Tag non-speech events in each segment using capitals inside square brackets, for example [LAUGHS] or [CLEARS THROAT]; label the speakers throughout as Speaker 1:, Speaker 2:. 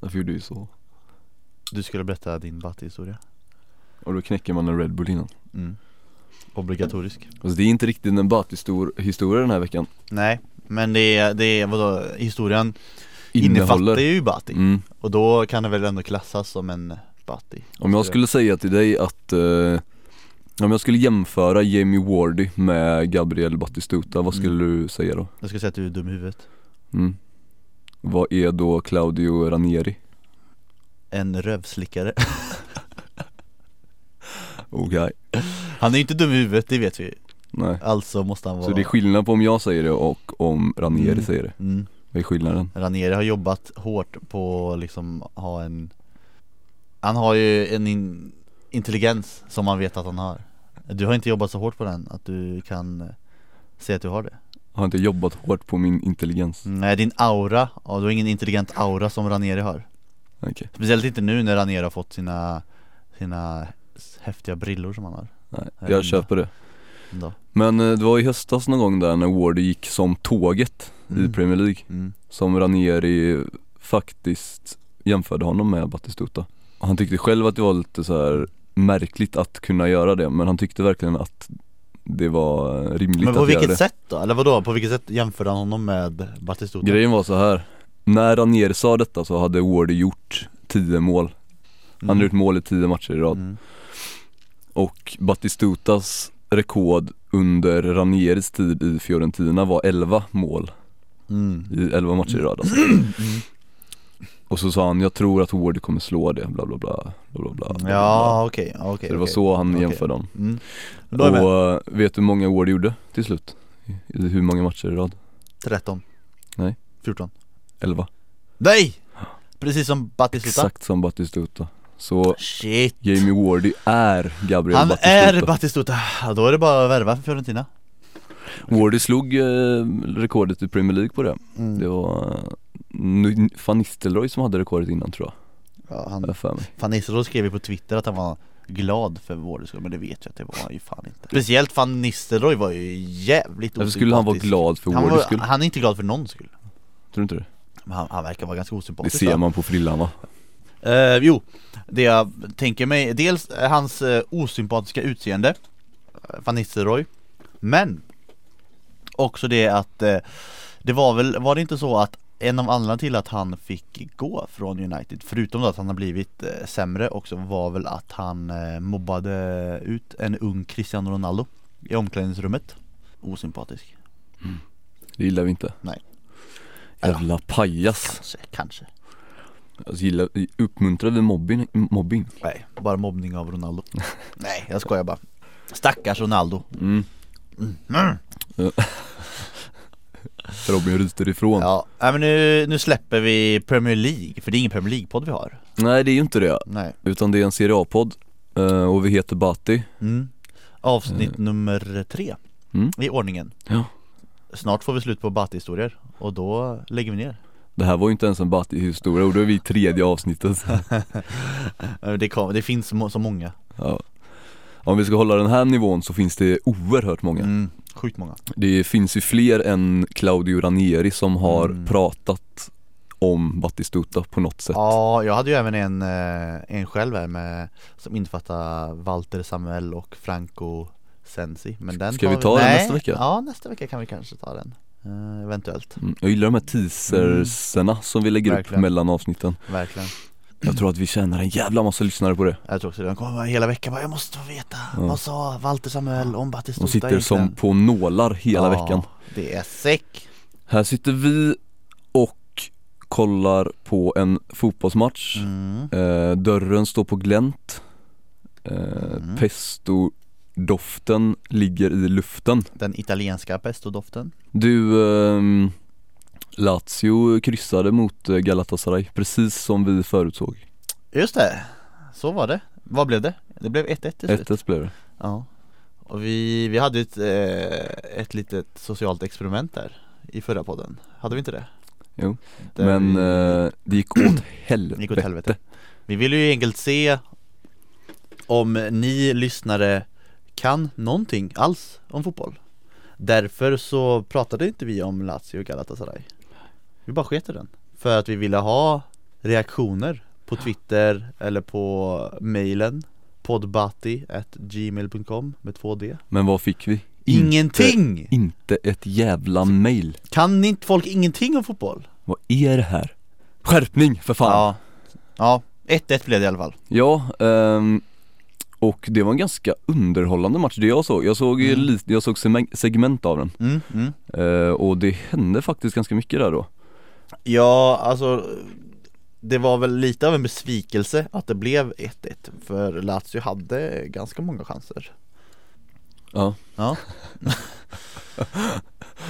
Speaker 1: Varför gjorde vi så?
Speaker 2: Du skulle berätta din Batti-historia
Speaker 1: Och då knäcker man en Red Bull innan
Speaker 2: mm. Obligatorisk
Speaker 1: Alltså det är inte riktigt en Batti-historia den här veckan
Speaker 2: Nej, men det är, det är vadå, historien innefattar ju Batti
Speaker 1: mm.
Speaker 2: Och då kan det väl ändå klassas som en Batti
Speaker 1: Om jag skulle säga till dig att eh, Om jag skulle jämföra Jamie Wardy med Gabriel Battistuta, vad skulle
Speaker 2: Mm.
Speaker 1: du säga då?
Speaker 2: Jag skulle säga att du är dum i huvudet
Speaker 1: Mm. Vad är då Claudio Ranieri?
Speaker 2: En rövslickare [LAUGHS]
Speaker 1: Okej
Speaker 2: Han är ju inte dum i huvudet, det vet vi ju.
Speaker 1: Nej
Speaker 2: Alltså måste han vara
Speaker 1: Så det är skillnad på om jag säger det och om Ranieri
Speaker 2: Mm.
Speaker 1: säger det
Speaker 2: mm.
Speaker 1: Vad är skillnaden?
Speaker 2: Ranieri har jobbat hårt på att liksom ha en Han har ju en in... intelligens som man vet att han har Du har inte jobbat så hårt på den att du kan eh, säga att du har det
Speaker 1: Har inte jobbat hårt på min intelligens?
Speaker 2: Nej din aura, ja, du har ingen intelligent aura som Ranieri har Mm.
Speaker 1: Okej
Speaker 2: Speciellt inte nu när Ranieri har fått sina, sina s- häftiga brillor som han har
Speaker 1: Nej,
Speaker 2: Jag
Speaker 1: jag,
Speaker 2: vet inte.
Speaker 1: köper det
Speaker 2: ändå.
Speaker 1: Men eh, det var i höstas någon gång där när Wardy gick som tåget i
Speaker 2: Mm.
Speaker 1: Premier League
Speaker 2: Mm.
Speaker 1: Som Ranieri faktiskt jämförde honom med Battistuta Och Han tyckte själv att det var lite så här märkligt att kunna göra det men han tyckte verkligen att det var eh, rimligt
Speaker 2: Men på
Speaker 1: att göra
Speaker 2: vilket
Speaker 1: det
Speaker 2: sätt då? Eller vadå? På vilket sätt jämförde han honom med Batistuta?
Speaker 1: Grejen var så här När Ranieri sa detta så hade Wardy gjort 10 mål Han hade gjort mål i 10 matcher i rad
Speaker 2: Mm.
Speaker 1: Och Battistutas rekord under Ranieris tid i Fiorentina var 11 mål
Speaker 2: Mm.
Speaker 1: i 11 matcher i rad alltså. Och så sa han, jag tror att Wardy kommer slå det, bla bla bla, bla bla bla, bla bla.
Speaker 2: Ja okej, okej
Speaker 1: Så det var
Speaker 2: okej.
Speaker 1: så han
Speaker 2: Okej.
Speaker 1: jämförde dem
Speaker 2: mm. Då är jag med,
Speaker 1: Och eh, vet du hur många Wardy gjorde till slut? I- I hur många matcher i rad?
Speaker 2: 13
Speaker 1: Nej.
Speaker 2: 14
Speaker 1: 11
Speaker 2: Nej! Precis som Batistuta
Speaker 1: Exakt som Battistuta Så
Speaker 2: Shit
Speaker 1: Jamie Wardy är Gabriel
Speaker 2: Han
Speaker 1: Batistuta
Speaker 2: är Batistuta, Ja, då är det bara att värva för Fiorentina
Speaker 1: Wardy slog eh, rekordet i Premier League på det
Speaker 2: Mm.
Speaker 1: Det var eh, van Nistelrooy som hade rekordet innan tror jag,
Speaker 2: Mm. Ja,
Speaker 1: har
Speaker 2: han,
Speaker 1: jag för mig
Speaker 2: fan Nistelrooy skrev ju på Twitter att han var glad för vår skull, men det vet jag att det var han ju fan inte Speciellt fan Nistelrooy var ju jävligt
Speaker 1: Varför skulle han vara
Speaker 2: osympatisk.
Speaker 1: glad för
Speaker 2: han,
Speaker 1: Wardys
Speaker 2: var,
Speaker 1: skull?
Speaker 2: han är inte glad för någons skull
Speaker 1: Tror du inte det?
Speaker 2: Men han, han verkar vara ganska
Speaker 1: Det
Speaker 2: osympatisk
Speaker 1: ser
Speaker 2: va?
Speaker 1: man på frillan va?
Speaker 2: Eh, jo, det jag tänker mig, dels eh, hans eh, osympatiska utseende eh, Van Nistelrooy Men också det att eh, det var väl, var det inte så att en av anledningarna till att han fick gå från United, förutom då att han har blivit eh, sämre också, var väl att han eh, mobbade ut en ung Cristiano Ronaldo i omklädningsrummet Osympatisk,
Speaker 1: Det gillar vi inte
Speaker 2: Nej.
Speaker 1: Jävla pajas
Speaker 2: kanske, kanske
Speaker 1: alltså, gillar, Uppmuntrar vi mobbing? mobbing?
Speaker 2: Nej, bara mobbning av Ronaldo [LAUGHS] Nej, jag skojar bara Stackars Ronaldo
Speaker 1: Mm.
Speaker 2: Mm.
Speaker 1: Robin ryter ifrån
Speaker 2: Ja, nej, men nu, nu släpper vi Premier League, för det är ingen Premier League-podd vi har
Speaker 1: Nej det är ju inte det
Speaker 2: Nej
Speaker 1: Utan det är en Serie A-podd eh, Och vi heter Bati
Speaker 2: mm. Avsnitt nummer tre
Speaker 1: Eh. Mm.
Speaker 2: i ordningen
Speaker 1: Ja.
Speaker 2: Snart får vi slut på Batti-historier och då lägger vi ner
Speaker 1: Det här var ju inte ens en Bati-historia och då är vi i tredje [LAUGHS] avsnittet
Speaker 2: Eh, Det, kom, det finns må- så många,
Speaker 1: ja. Om vi ska hålla den här nivån så finns det oerhört många
Speaker 2: mm. sjukt många
Speaker 1: Det finns ju fler än Claudio Ranieri som har
Speaker 2: Mm.
Speaker 1: pratat om Battistuta på något sätt
Speaker 2: Ja, jag hade ju även en, eh, en själv här med, som innefattar Walter Samuel och Franco Sensi men den
Speaker 1: Ska
Speaker 2: tar
Speaker 1: vi ta den
Speaker 2: Nej.
Speaker 1: nästa vecka?
Speaker 2: Ja, nästa vecka kan vi kanske ta den Eh, Eventuellt,
Speaker 1: Mm, Jag gillar de här teaserserna som vi lägger
Speaker 2: Mm. Verkligen.
Speaker 1: upp mellan avsnitten
Speaker 2: verkligen
Speaker 1: Jag tror att vi tjänar en jävla massa lyssnare på det
Speaker 2: Jag tror också det, de kommer vara hela veckan bara 'Jag måste få veta,
Speaker 1: Ja.
Speaker 2: vad sa Walter Samuel om Batistuta
Speaker 1: De sitter som
Speaker 2: egentligen?"
Speaker 1: på nålar hela
Speaker 2: Ja,
Speaker 1: veckan
Speaker 2: Det är säck!
Speaker 1: Här sitter vi och kollar på en fotbollsmatch
Speaker 2: Mm.
Speaker 1: eh, Dörren står på glänt eh,
Speaker 2: Mm.
Speaker 1: Pesto-doften ligger i luften
Speaker 2: Den italienska pestodoften
Speaker 1: Du, ehm, Lazio kryssade mot eh, Galatasaray precis som vi förutsåg
Speaker 2: Just det, så var det. Vad blev det? Det blev 1-1 till slut
Speaker 1: 1-1 blev det
Speaker 2: Ja Och vi, vi hade ett, eh, ett litet socialt experiment där i förra podden, hade vi inte det?
Speaker 1: Jo.
Speaker 2: Där
Speaker 1: Men
Speaker 2: vi,
Speaker 1: eh, det
Speaker 2: [CLEARS THROAT]
Speaker 1: gick åt helvete
Speaker 2: gick åt helvete Vi vill ju enkelt se om ni lyssnare kan någonting alls om fotboll Därför så pratade inte vi om Lazio och Galatasaray Vi bara sket i den För att vi ville ha reaktioner på Twitter eller på mailen podbati.gmail.com med två D
Speaker 1: Men vad fick vi?
Speaker 2: Ingenting!
Speaker 1: Inte ett jävla mail.
Speaker 2: Kan inte folk ingenting om fotboll?
Speaker 1: Vad är det här? Skärpning för fan!
Speaker 2: Ja Ja, 1-1 blev det i alla fall
Speaker 1: Ja, ehm, och det var en ganska underhållande match det jag såg. Jag såg, ju
Speaker 2: Mm.
Speaker 1: lite, jag såg seme- segment av den
Speaker 2: mm, mm.
Speaker 1: Eh, och det hände faktiskt ganska mycket där då.
Speaker 2: Ja, alltså det var väl lite av en besvikelse att det blev 1-1 För Lazio hade ganska många chanser
Speaker 1: Ja,
Speaker 2: [LAUGHS]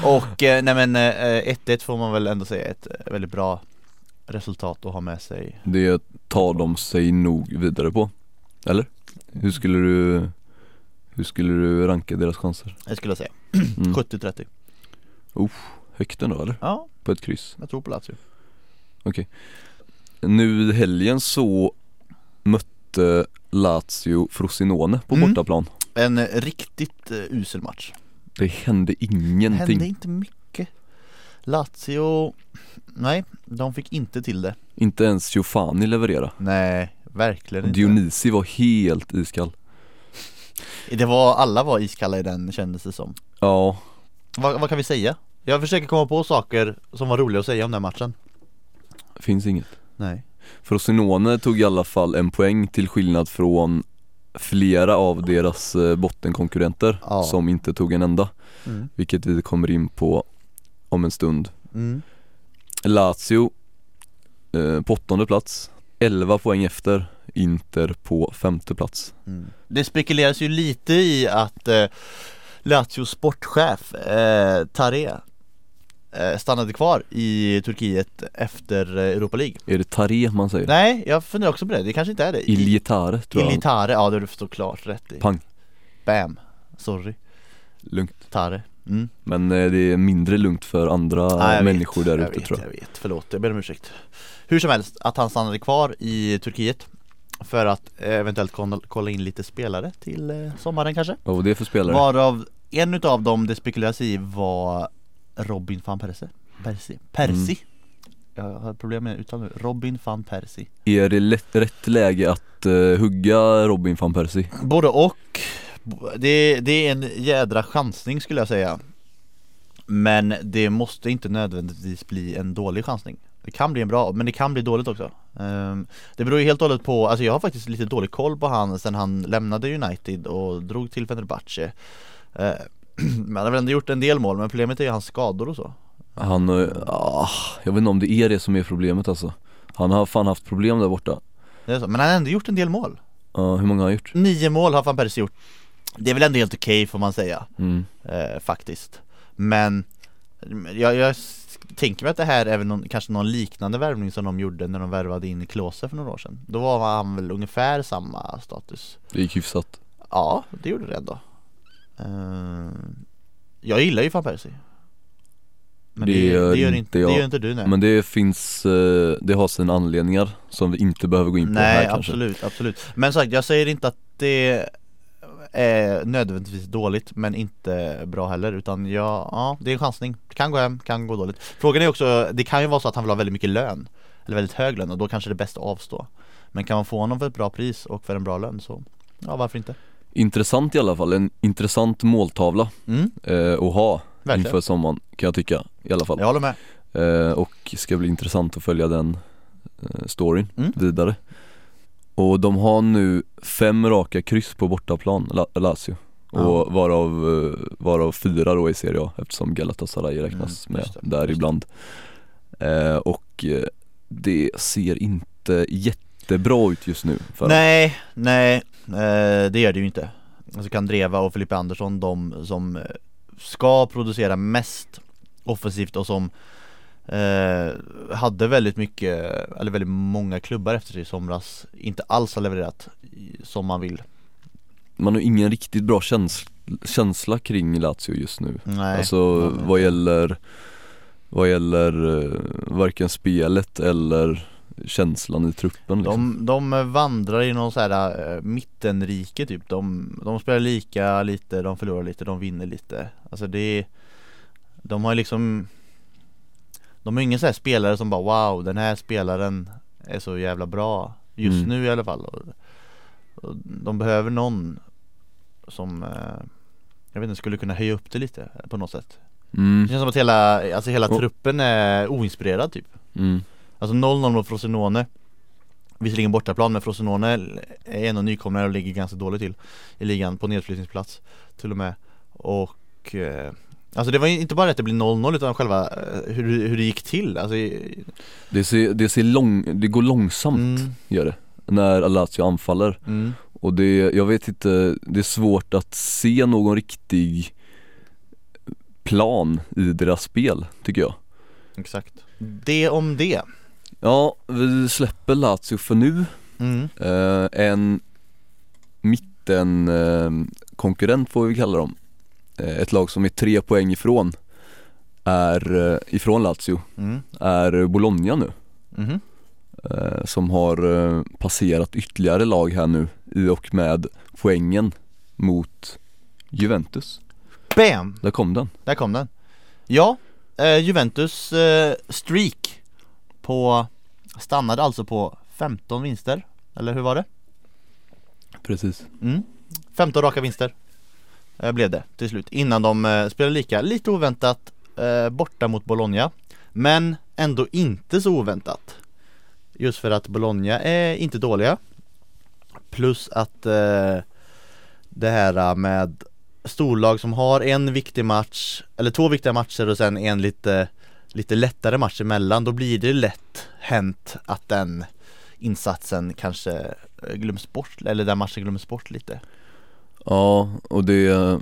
Speaker 2: Och eh, nej men eh, 1-1 får man väl ändå säga är ett eh, väldigt bra resultat att ha med sig
Speaker 1: det tar de sig nog vidare på. Eller? Hur skulle du, hur skulle du ranka deras chanser?
Speaker 2: Jag eh, skulle jag säga
Speaker 1: Mm.
Speaker 2: 70-30
Speaker 1: Högt ändå eller?
Speaker 2: Ja,
Speaker 1: På ett kryss.
Speaker 2: jag tror på Lazio
Speaker 1: Nu i helgen så mötte Lazio Frosinone på
Speaker 2: Mm.
Speaker 1: bortaplan.
Speaker 2: En eh, riktigt eh, usel match
Speaker 1: Det hände
Speaker 2: Det
Speaker 1: ingenting.
Speaker 2: hände inte mycket Lazio, nej, de fick inte till det
Speaker 1: Inte ens Giovanni leverera.
Speaker 2: Nej, verkligen inte
Speaker 1: Dionysi var helt iskall.
Speaker 2: Det var, alla var iskalla i den kändes det som
Speaker 1: Ja,
Speaker 2: Vad, vad kan vi säga? Jag försöker komma på saker som var roliga att säga om den här matchen
Speaker 1: finns inget.
Speaker 2: Nej
Speaker 1: Frosinone tog i alla fall en poäng till skillnad från flera av deras eh, bottenkonkurrenter
Speaker 2: Ja.
Speaker 1: som inte tog en enda.
Speaker 2: mm.
Speaker 1: Vilket vi kommer in på om en stund.
Speaker 2: Mm.
Speaker 1: Lazio eh, på åttonde plats, 11 poäng efter. Inter på femte plats.
Speaker 2: Mm. Det spekuleras ju lite i att eh, Lazios sportchef eh, Tare eh, stannade kvar i Turkiet efter eh, Europa League
Speaker 1: Är det Tare man säger?
Speaker 2: Nej, jag funderar också på det, det kanske inte är det
Speaker 1: Iljetare tror jag.
Speaker 2: Ilitare, ja det har du såklart rätt i
Speaker 1: Pang.
Speaker 2: Bam, sorry,
Speaker 1: Lugnt.
Speaker 2: Tare mm.
Speaker 1: Men eh, det är mindre lugnt för andra
Speaker 2: Ja, jag
Speaker 1: människor
Speaker 2: vet,
Speaker 1: där
Speaker 2: jag
Speaker 1: ute
Speaker 2: vet,
Speaker 1: tror jag.
Speaker 2: Jag vet, förlåt, jag ber om ursäkt Hur som helst, att han stannade kvar i Turkiet För att eh, eventuellt kon- kolla in lite spelare till eh, sommaren kanske
Speaker 1: Vad var det för spelare?
Speaker 2: Varav en utav dem det spekuleras i var Robin van Persie Persie, Persie.
Speaker 1: Mm.
Speaker 2: Jag har problem med uttal nu, Robin van Persie
Speaker 1: Är det lätt, rätt läge att eh, hugga Robin van Persie?
Speaker 2: Både och det, det är en jädra chansning skulle jag säga Men det måste inte nödvändigtvis bli en dålig chansning Det kan bli en bra, men det kan bli dåligt också Ehm, Det beror ju helt och hållet på, alltså jag har faktiskt lite dålig koll på han sen han lämnade United och drog till Fenerbahce Ehm, [CLEARS THROAT] Men han har väl ändå gjort en del mål, men problemet är ju hans skador och så
Speaker 1: Han, eh, ah, jag vet inte om det är det som är problemet alltså Han har fan haft problem där borta
Speaker 2: Det är så. Men han har ändå gjort en del mål
Speaker 1: Ja, Hur många har han gjort?
Speaker 2: Nio mål har van Persie gjort Det är väl ändå helt okej får man säga
Speaker 1: Mm.
Speaker 2: eh, faktiskt. Men jag, jag s- tänker mig att det här är väl någon, kanske någon liknande värvning som de gjorde när de värvade in Klose för några år sedan. Då var han väl ungefär samma status.
Speaker 1: Det gick hyfsat
Speaker 2: Ja, det gjorde det ändå. Eh, jag gillar ju van Persie. Men det,
Speaker 1: Det
Speaker 2: det,
Speaker 1: gör
Speaker 2: gör,
Speaker 1: inte
Speaker 2: inte, det
Speaker 1: jag.
Speaker 2: gör inte du nej.
Speaker 1: Men det finns, eh, det har sina anledningar som vi inte behöver gå in på här
Speaker 2: Nej,
Speaker 1: kanske
Speaker 2: absolut, absolut. Men sagt, jag säger inte att det är nödvändigtvis dåligt, men inte bra heller. Utan ja, ja det är en chansning. Det kan gå hem, kan gå dåligt. Frågan är också, det kan ju vara så att han vill ha väldigt mycket lön. Eller väldigt hög lön och då kanske det är bäst att avstå. Men kan man få honom för ett bra pris och för en bra lön så, ja varför inte?
Speaker 1: Intressant i alla fall, en intressant måltavla
Speaker 2: Mm,
Speaker 1: eh, att ha
Speaker 2: verkligen.
Speaker 1: inför sommaren kan jag tycka i alla fall
Speaker 2: Jag håller med.
Speaker 1: Eh, Och ska bli intressant att följa den eh, storyn
Speaker 2: Mm.
Speaker 1: vidare Och de har nu fem raka kryss på bortaplan, La- Lazio
Speaker 2: Ja.
Speaker 1: Och varav, eh, varav fyra då i Serie A eftersom Galatasaray räknas
Speaker 2: Mm,
Speaker 1: med
Speaker 2: just det,
Speaker 1: där
Speaker 2: just det.
Speaker 1: ibland Eh, Och eh, det ser inte jättebra ut just nu för
Speaker 2: Nej, nej, eh, det gör det ju inte. Alltså Kandreva och Filippe Andersson, de som eh, ska producera mest offensivt och som eh, hade väldigt mycket, eller väldigt många klubbar efter sig i somras, inte alls har levererat i- som man vill.
Speaker 1: Man har ingen riktigt bra känsla, känsla kring Lazio just nu
Speaker 2: Nej.
Speaker 1: Alltså
Speaker 2: Mm.
Speaker 1: vad gäller, vad gäller eh, varken spelet eller känslan i truppen liksom.
Speaker 2: De, de vandrar i någon så här eh, mittenrike typ de, de spelar lika lite, de förlorar lite, de vinner lite Alltså det De har ju liksom De har ingen så här spelare som bara wow den här spelaren är så jävla bra just
Speaker 1: Mm.
Speaker 2: nu i alla fall och, och De behöver någon som eh, Jag vet inte, skulle kunna höja upp det lite eh, på något sätt
Speaker 1: Mm.
Speaker 2: Det känns som att hela, alltså hela
Speaker 1: Och-
Speaker 2: truppen är oinspirerad typ
Speaker 1: Mm.
Speaker 2: Alltså 0-0 mot Frosinone Visserligen bortaplan men Frosinone är ändå nykomlingar och ligger ganska dåligt till I ligan på nedflyttningsplats Till och med Och eh, Alltså det var ju inte bara att det blev 0-0 utan själva eh, hur, hur det gick till alltså, i-
Speaker 1: Det, ser, det, ser lång, det går långsamt
Speaker 2: mm,
Speaker 1: gör det När Lazio anfaller
Speaker 2: mm,
Speaker 1: och det, jag vet inte, det är svårt att se någon riktig plan i deras spel tycker jag
Speaker 2: Exakt Det om det
Speaker 1: Ja, vi släpper Lazio för nu
Speaker 2: mm,
Speaker 1: Eh, en mitten eh, konkurrent får vi kalla dem. Eh, ett lag som är tre poäng ifrån är, eh, ifrån Lazio
Speaker 2: mm,
Speaker 1: är Bologna nu.
Speaker 2: mhm,
Speaker 1: Eh, som har eh, passerat ytterligare lag här nu i och med poängen mot Juventus.
Speaker 2: Bam!
Speaker 1: Där kom den.
Speaker 2: Där kom den Ja, eh, Juventus eh, streak på Stannade alltså på 15 vinster Eller hur var det?
Speaker 1: Precis.
Speaker 2: Mm. 15 raka vinster eh, blev det till slut innan de eh, spelade lika. Lite oväntat eh, borta mot Bologna men ändå inte så oväntat. Just för att Bologna är inte dåliga. Plus att eh, det här eh, med storlag som har en viktig match eller två viktiga matcher och sen en lite lite lättare match emellan då blir det lätt hänt att den insatsen kanske eh, glöms bort eller den matchen glöms bort lite
Speaker 1: Ja, och det,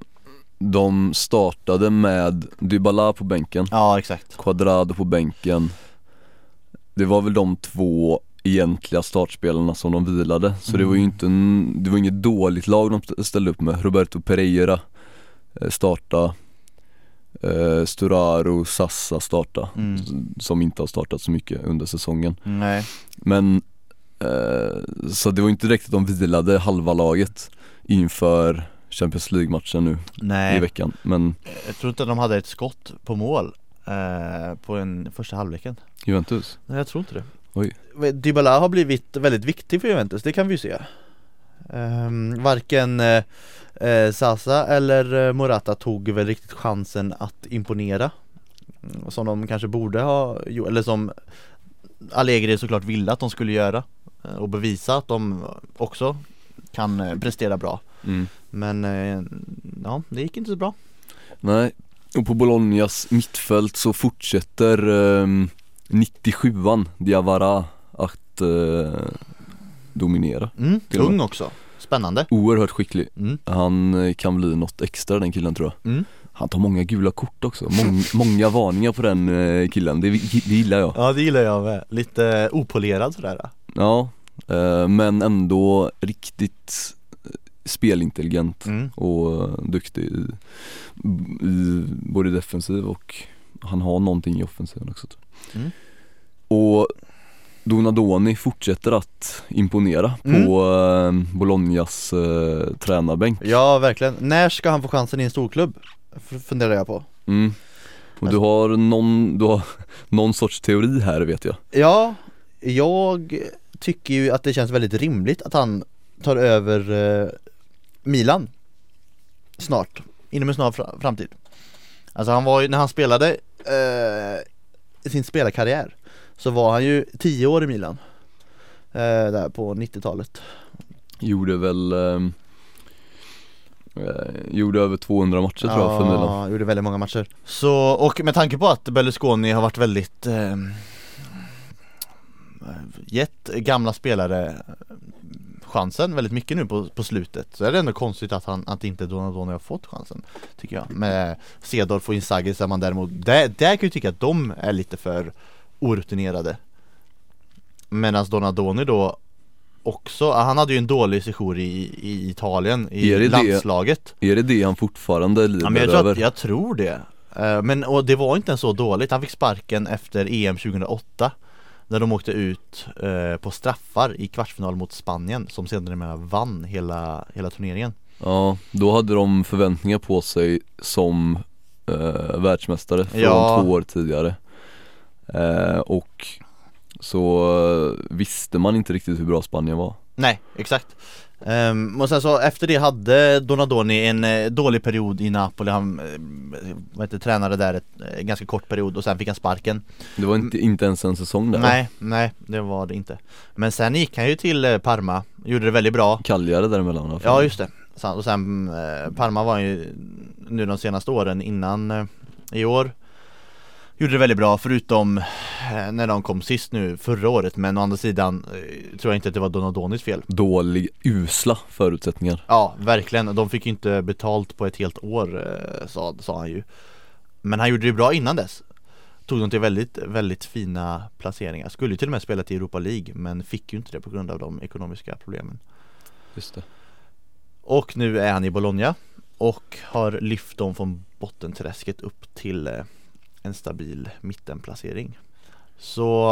Speaker 1: de startade med Dybala på bänken.
Speaker 2: Ja exakt
Speaker 1: Quadrado på bänken Det var väl de två egentliga startspelarna som de vilade Så det var ju
Speaker 2: Mm.
Speaker 1: inte, en, det var inget dåligt lag de ställde upp med Roberto Pereira eh, starta eh, Sturaro, Sassa starta
Speaker 2: Mm.
Speaker 1: s- Som inte har startat så mycket under säsongen
Speaker 2: Nej
Speaker 1: Men eh, Så det var inte direkt att de vilade halva laget inför Champions League-matchen nu i
Speaker 2: Nej
Speaker 1: veckan Men
Speaker 2: Jag tror inte att de hade ett skott på mål eh, På en första halvleken
Speaker 1: Juventus
Speaker 2: Nej jag tror inte det
Speaker 1: Oj.
Speaker 2: Dybala har blivit väldigt viktig för Juventus, det kan vi ju se Ehm, Varken eh, eh, Sasa eller eh, Morata tog väl riktigt chansen att imponera Mm, Som de kanske borde ha gjort, eller som Allegri såklart ville att de skulle göra eh, Och bevisa att de också kan eh, prestera bra
Speaker 1: mm.
Speaker 2: Men eh, ja, det gick inte så bra
Speaker 1: Nej, och på Bolognas mittfält så fortsätter eh, 97an Diawara att eh, dominera.
Speaker 2: mm,
Speaker 1: Till och med.
Speaker 2: Ung också, spännande
Speaker 1: Oerhört skicklig.
Speaker 2: mm.
Speaker 1: Han eh, kan bli något extra den killen tror jag.
Speaker 2: Mm.
Speaker 1: Han tar många gula kort också, Mång, [LAUGHS] många varningar på den eh, killen, det, gi- det gillar jag.
Speaker 2: Ja det gillar jag med, lite opolerad sådär
Speaker 1: Ja, eh, men ändå riktigt eh, spelintelligent
Speaker 2: mm.
Speaker 1: och eh, duktig i, i både defensiv och han har någonting i offensiven också tror jag.
Speaker 2: Mm.
Speaker 1: Och Donadoni fortsätter att imponera
Speaker 2: Mm.
Speaker 1: på eh, Bolognas eh, tränarbänk.
Speaker 2: Ja verkligen, när ska han få chansen i en storklubb? F- Funderar jag på
Speaker 1: Mm. Och
Speaker 2: Alltså-
Speaker 1: du har någon, du har [LAUGHS] någon sorts teori här vet jag.
Speaker 2: Ja, jag tycker ju att det känns väldigt rimligt att han tar över eh, Milan Snart, inom en snar fra- framtid Alltså han var ju, när han spelade eh, i sin spelarkarriär Så var han ju 10 år i Milan eh, Där på 90-talet
Speaker 1: Gjorde väl eh, eh, Gjorde över 200 matcher tror jag för Milan.
Speaker 2: Ja, gjorde väldigt många matcher Så, och med tanke på att Berlusconi har varit väldigt eh, Gett gamla spelare chansen väldigt mycket nu på, på slutet Så är det ändå konstigt att, han, att inte Donadoni har fått chansen Tycker jag Med Cedorf och Inzaghi så är man däremot där, där kan jag tycka att de är lite för orutinerade Medan Donadoni då också, han hade ju en dålig sejour i, i Italien
Speaker 1: Är
Speaker 2: i
Speaker 1: det det?
Speaker 2: landslaget
Speaker 1: Är det det han fortfarande lider
Speaker 2: Ja, men jag, tror
Speaker 1: över?
Speaker 2: att, jag tror det Eh, Men och det var inte ens så dåligt, han fick sparken efter EM 2008 När de åkte ut eh, på straffar i kvartsfinal mot Spanien som sedermera vann hela, hela turneringen
Speaker 1: Ja, då hade de förväntningar på sig som eh, världsmästare från
Speaker 2: Ja.
Speaker 1: två år tidigare eh, Och så eh, visste man inte riktigt hur bra Spanien var
Speaker 2: Nej, exakt. Ehm, och sen så efter det hade Donadoni en eh, dålig period i Napoli. Han eh, vad heter, tränade där ett, eh, ganska kort period och sen fick han sparken.
Speaker 1: Det var inte, inte ens en säsong där
Speaker 2: Nej, nej det var det inte. Men sen gick han ju till eh, Parma, gjorde det väldigt bra.
Speaker 1: Kalligare däremellan i alla fall.
Speaker 2: Ja just det. Sen- Och sen eh, Parma var ju nu de senaste åren innan eh, i år Gjorde det väldigt bra förutom eh, när de kom sist nu förra året men å andra sidan eh, tror jag inte att det var Donadonis fel
Speaker 1: Dålig, usla förutsättningar
Speaker 2: Ja, verkligen. De fick ju inte betalt på ett helt år eh, sa, sa han ju Men han gjorde det bra innan dess Tog dem till väldigt, väldigt fina placeringar Skulle ju till och med spela till Europa League men fick ju inte det på grund av de ekonomiska problemen
Speaker 1: Just det
Speaker 2: Och nu är han i Bologna och har lyft dem från bottenträsket upp till eh, en stabil mittenplacering. Så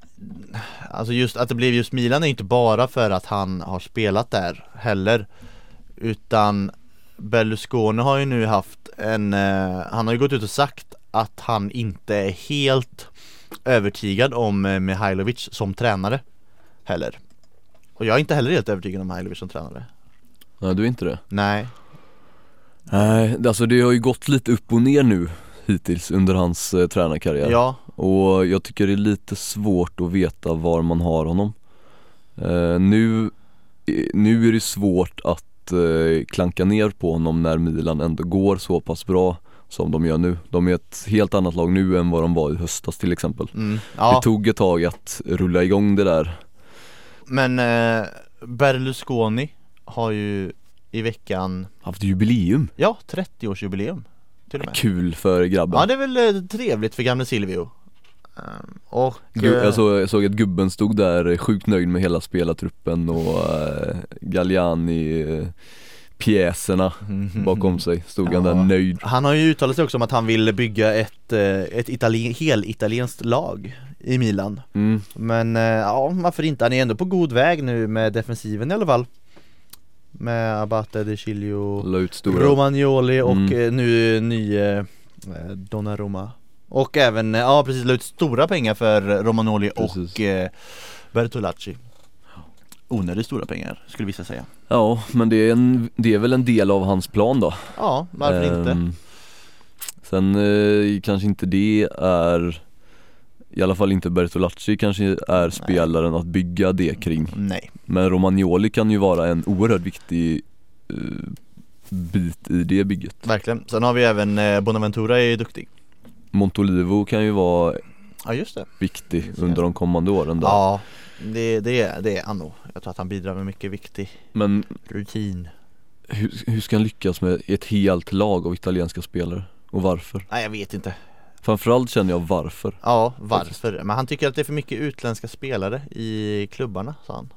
Speaker 2: eh, Alltså just att det blev just Milan är inte bara för att han har spelat där heller Utan Berlusconi har ju nu haft en eh, Han har ju gått ut och sagt att han inte är helt övertygad om eh, Mihailovic som tränare Heller Och jag är inte heller helt övertygad om Mihailovic som tränare
Speaker 1: Nej du är inte det
Speaker 2: Nej,
Speaker 1: Nej, alltså det har ju gått lite upp och ner nu hittills under hans eh, tränarkarriär
Speaker 2: ja,
Speaker 1: Och jag tycker det är lite svårt att veta var man har honom eh, nu, eh, nu är det svårt att eh, klanka ner på honom när Milan ändå går så pass bra som de gör nu. De är ett helt annat lag nu än vad de var i höstas till exempel.
Speaker 2: mm, ja.
Speaker 1: Det tog ett tag att rulla igång det där.
Speaker 2: Men eh, Berlusconi har ju i veckan,
Speaker 1: Haft jubileum.
Speaker 2: ja 30-årsjubileum till och med
Speaker 1: Kul för grabben.
Speaker 2: Ja det är väl eh, trevligt för gamle Silvio Ehm, Och
Speaker 1: Gu-
Speaker 2: eh,
Speaker 1: jag, såg, jag såg att gubben stod där sjukt nöjd med hela spelartruppen och äh, Galliani eh, pjäserna bakom sig stod han
Speaker 2: Mhm. Ja.
Speaker 1: där nöjd
Speaker 2: Han har ju uttalat sig också om att han vill bygga ett, eh, ett itali- helitalienskt lag i Milan
Speaker 1: mm.
Speaker 2: Men eh, ja, varför inte? Han är ändå på god väg nu med defensiven i alla fall Med Abate, De Chilio,
Speaker 1: La ut stora
Speaker 2: Romagnoli och
Speaker 1: Mm.
Speaker 2: eh, nu ny eh, Donnarumma Och även, eh, ja precis, la ut stora pengar för Romagnoli
Speaker 1: Precis.
Speaker 2: och eh, Bertolacci Onödigt stora pengar skulle vissa säga
Speaker 1: Ja men det är, en, det är väl en del av hans plan då
Speaker 2: Ja, varför inte?
Speaker 1: Ehm, Sen eh, kanske inte det är I alla fall inte Bertolacci kanske är spelaren att bygga det kring
Speaker 2: Nej,
Speaker 1: Men Romagnoli kan ju vara en oerhört viktig eh, bit i det bygget
Speaker 2: verkligen. Sen har vi även eh, Bonaventura är ju duktig
Speaker 1: Montolivo kan ju vara
Speaker 2: Ja just det
Speaker 1: viktig under de kommande åren där.
Speaker 2: Ja, det, det, är- det är han nog Jag tror att han bidrar med mycket viktig
Speaker 1: Men
Speaker 2: rutin
Speaker 1: hur, hur ska han lyckas med ett helt lag av italienska spelare? Och varför?
Speaker 2: Nej jag vet inte
Speaker 1: Framförallt känner jag varför.
Speaker 2: Ja, varför? Men han tycker att det är för mycket utländska spelare i klubbarna, sa han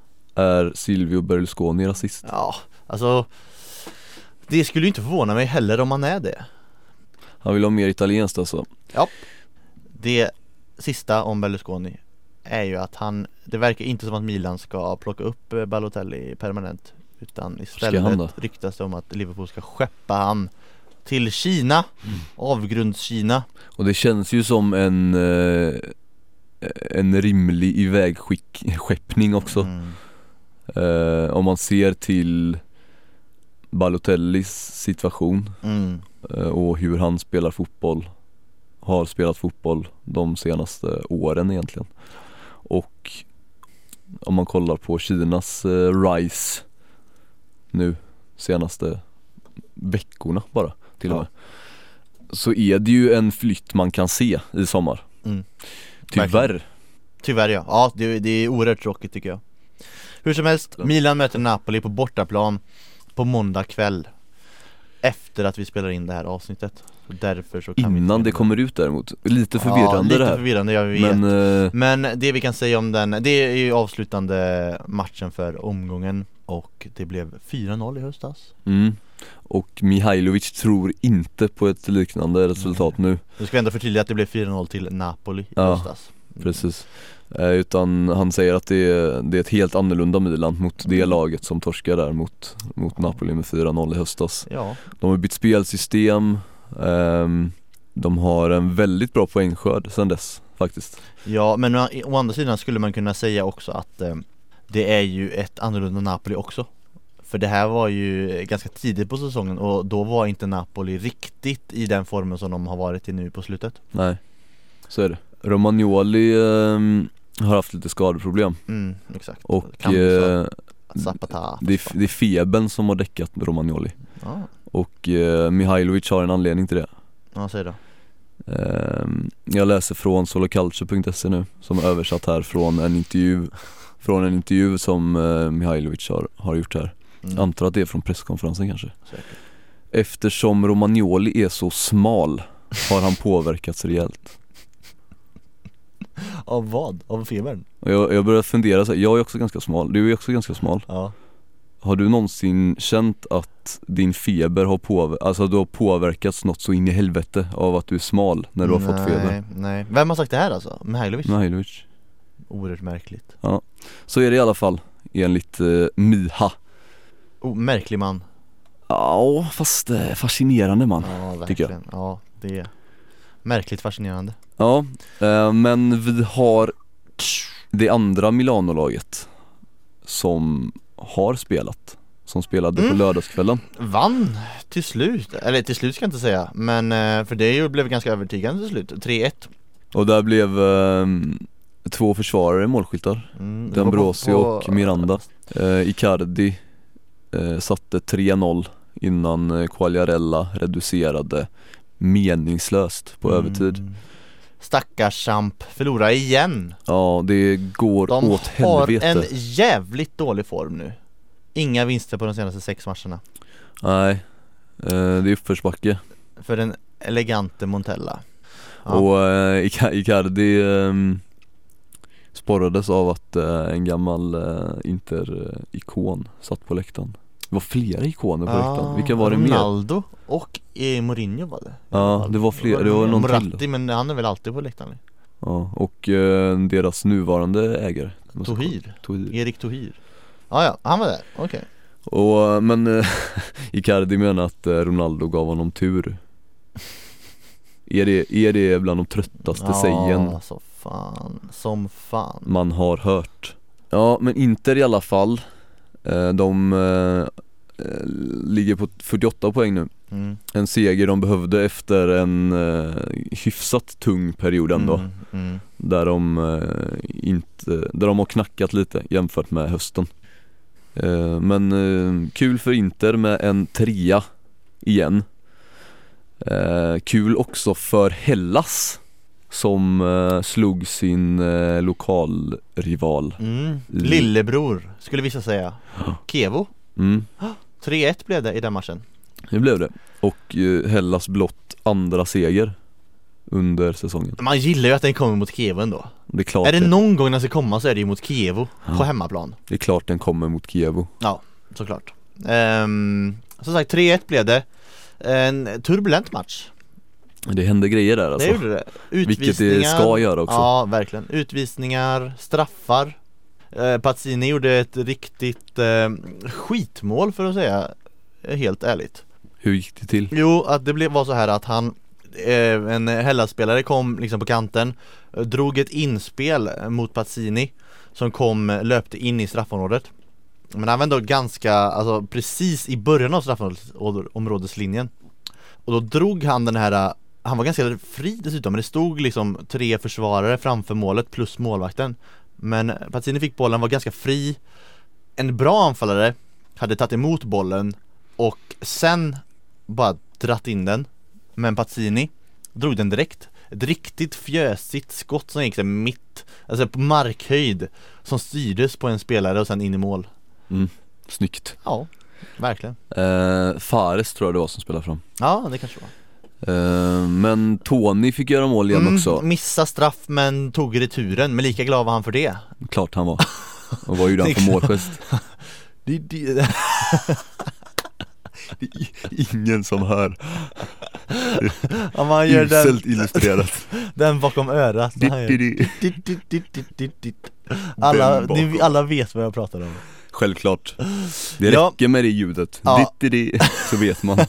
Speaker 1: Är Silvio Berlusconi rasist?
Speaker 2: Ja, alltså Det skulle ju inte förvåna mig heller om han är det
Speaker 1: Han vill ha mer italienskt alltså.
Speaker 2: Det sista om Berlusconi Är ju att han Det verkar inte som att Milan ska plocka upp eh, Balotelli permanent Utan
Speaker 1: han
Speaker 2: istället
Speaker 1: då?
Speaker 2: ryktas det om att Liverpool ska skeppa han Till Kina
Speaker 1: Mm.
Speaker 2: Avgrundskina
Speaker 1: Och det känns ju som en eh, en rimlig ivägskeppning också.
Speaker 2: Mm.
Speaker 1: Eh, om man ser till Balotellis situation
Speaker 2: Mm.
Speaker 1: eh, och hur han spelar fotboll Har spelat fotboll de senaste åren egentligen Och om man kollar på Kinas eh, rise nu senaste veckorna bara till och
Speaker 2: Ja.
Speaker 1: med Så är det ju en flytt man kan se i sommar
Speaker 2: Mm.
Speaker 1: Tyvärr
Speaker 2: Tyvärr ja, ja det, det är oerhört tråkigt tycker jag Hur som helst, Milan möter Napoli på bortaplan på måndag kväll Efter att vi spelar in det här avsnittet Så Därför så kan vi
Speaker 1: Innan
Speaker 2: inte-
Speaker 1: det kommer ut däremot, lite
Speaker 2: ja,
Speaker 1: förvirrande
Speaker 2: lite
Speaker 1: det här
Speaker 2: förvirrande, jag vet
Speaker 1: Men
Speaker 2: men...
Speaker 1: eh,
Speaker 2: det vi kan säga om den, det är ju avslutande matchen för omgången Och det blev 4-0 i höstas
Speaker 1: Mm. Och Mihailovic tror inte på ett liknande resultat nu,
Speaker 2: Nu ska vi ändå förtydliga att det blev 4-0 till Napoli i
Speaker 1: Ja,
Speaker 2: höstas
Speaker 1: precis eh, Utan han säger att det är, det är ett helt annorlunda Milan mot det laget som torskar där mot, mot Napoli med 4-0 i höstas
Speaker 2: Ja,
Speaker 1: De har bytt spelsystem ehm, De har en väldigt bra poängskörd sedan dess faktiskt.
Speaker 2: Ja, men å, å andra sidan skulle man kunna säga också att eh, det är ju ett annorlunda Napoli också. För det här var ju ganska tidigt på säsongen och då var inte Napoli riktigt i den formen som de har varit i nu på slutet.
Speaker 1: Nej, så är det. Romagnoli ehm, har haft lite skadeproblem
Speaker 2: Mm, exakt.
Speaker 1: och
Speaker 2: Kamsa,
Speaker 1: eh,
Speaker 2: Zapata.
Speaker 1: det, är, f- det är febern som har däckat Romagnoli
Speaker 2: Ja,
Speaker 1: och eh, Mihailovic har en anledning till det.
Speaker 2: ja säg då.
Speaker 1: Ehm, jag läser från solocalcio.se nu som är översatt här från en intervju från en intervju som eh, Mihailovic har, har gjort här.
Speaker 2: Mm,
Speaker 1: Jag antar att det är från presskonferensen kanske.
Speaker 2: säkert.
Speaker 1: Eftersom Romagnoli är så smal har han påverkats rejält.
Speaker 2: Av vad? Av febern?
Speaker 1: Och Jag, jag börjar fundera så här, jag är också ganska smal, du är också ganska smal.
Speaker 2: Ja.
Speaker 1: Har du någonsin känt att din feber har, påver- alltså, att du har påverkats något så in i helvete av att du är smal när du har fått feber?
Speaker 2: Nej, nej. Vem har sagt det här alltså? Mihailovic?
Speaker 1: Mihailovic.
Speaker 2: Oerhört märkligt.
Speaker 1: Så är det i alla fall enligt eh, Miha.
Speaker 2: Oh, märklig man.
Speaker 1: Ja, fast eh, fascinerande man.
Speaker 2: Ja,
Speaker 1: tycker jag.
Speaker 2: verkligen. Ja, det är märkligt fascinerande.
Speaker 1: Ja, eh, men vi har det andra Milano-laget som har spelat, som spelade på
Speaker 2: Mm.
Speaker 1: lördagskvällen.
Speaker 2: Vann till slut, eller till slut ska jag inte säga, men eh, för det ju- blev ganska övertygande till slut, 3-1
Speaker 1: Och där blev eh, två försvarare målskyttar.
Speaker 2: mm, det var
Speaker 1: Dambrosio
Speaker 2: på- på-
Speaker 1: och Miranda eh, Icardi eh, satte 3-0 innan eh, Quagliarella reducerade meningslöst på övertid
Speaker 2: Mm. Stackars Champ, förlora igen!
Speaker 1: Ja det går
Speaker 2: De
Speaker 1: åt
Speaker 2: har
Speaker 1: helvete
Speaker 2: en jävligt dålig form nu Inga vinster på de senaste sex matcherna
Speaker 1: Nej eh, det är uppförsbacke
Speaker 2: För den elegante Montella Ja.
Speaker 1: och eh, Ica- Icardi eh, sporrades av att eh, en gammal eh, Inter-ikon satt på läktaren Det var flera ikoner på läktaren, vilka var det mer?
Speaker 2: Ah, Ronaldo och eh, Mourinho var det
Speaker 1: Ja det var flera, det var någon till
Speaker 2: Moratti, men han är väl alltid på läktaren?
Speaker 1: Ja, och eh, deras nuvarande ägare
Speaker 2: Tohir,
Speaker 1: Tohir
Speaker 2: Erik Tohir Ja, ja, han var där, okej
Speaker 1: Och eh, men eh, [LAUGHS] Icardi menar att eh, Ronaldo gav honom
Speaker 2: [LAUGHS]
Speaker 1: tur Är det, är det bland de tröttaste sägen
Speaker 2: Ja, så fan, som fan
Speaker 1: man har hört? Ja men Inter i alla fall eh, De eh, eh, ligger på 48 poäng nu
Speaker 2: mm.
Speaker 1: En seger de behövde efter en eh, hyfsat tung period ändå
Speaker 2: Mm, mm.
Speaker 1: där de, eh, inte, där de har knackat lite jämfört med hösten. Eh, men eh, kul för Inter med en trea igen. Eh, kul också för Hellas som eh, slog sin eh, lokalrival.
Speaker 2: Mm. Lillebror, skulle vissa säga Kevo,
Speaker 1: Mm,
Speaker 2: 3-1 blev det i den matchen
Speaker 1: det blev det. Och eh, Hellas blott andra seger under säsongen.
Speaker 2: Man gillar ju att den kommer mot Kevo ändå
Speaker 1: Det är klart,
Speaker 2: Är det
Speaker 1: det,
Speaker 2: någon gång den ska komma så är det ju mot Kevo
Speaker 1: Ja.
Speaker 2: på hemmaplan
Speaker 1: det är klart den kommer mot Kievo.
Speaker 2: Såklart um, Som sagt, 3-1 blev det En turbulent match,
Speaker 1: Det hände grejer där
Speaker 2: det
Speaker 1: alltså.
Speaker 2: gjorde det
Speaker 1: Vilket det ska göra också.
Speaker 2: Ja, verkligen. Utvisningar, straffar. Eh, Pazzini gjorde ett riktigt eh, skitmål för att säga eh, helt ärligt.
Speaker 1: Hur gick det till?
Speaker 2: Jo, att det blev, var så här att han eh, en Hellas-spelare kom liksom på kanten, eh, drog ett inspel mot Pazzini som kom, eh, löpte in i straffområdet. Men han var ändå ganska, alltså precis i början av straffområdeslinjen. Och då drog han den här, eh, han var ganska fri dessutom, men det stod liksom tre försvarare framför målet plus målvakten. Men Pazzini fick bollen, var ganska fri. En bra anfallare hade tagit emot bollen och sen bara dratt in den Men Pazzini drog den direkt Ett riktigt fjösigt skott som gick där mitt Alltså på markhöjd Som styrdes på en spelare och sen in i mål
Speaker 1: Snyggt.
Speaker 2: Ja, verkligen
Speaker 1: Eh, Fares tror jag det var som spelade fram
Speaker 2: Ja, det kanske var
Speaker 1: eh, Men Tony fick göra mål igen också,
Speaker 2: Mm, Missa straff men tog returen, men lika glad var han för det
Speaker 1: klart han var Och vad gjorde
Speaker 2: [LAUGHS]
Speaker 1: han för målgest?
Speaker 2: Det, det,
Speaker 1: [LAUGHS] Det är ingen som hör,
Speaker 2: om man gör den, [LAUGHS]
Speaker 1: illustrerat
Speaker 2: den bakom örat när han gör- Dit, dit, dit, dit, dit, dit. Alla,
Speaker 1: Den bakom.
Speaker 2: ni, alla vet vad jag pratar om
Speaker 1: Självklart Det
Speaker 2: Ja.
Speaker 1: räcker med det ljudet,
Speaker 2: [LAUGHS] Ja.
Speaker 1: Dittidi, så vet man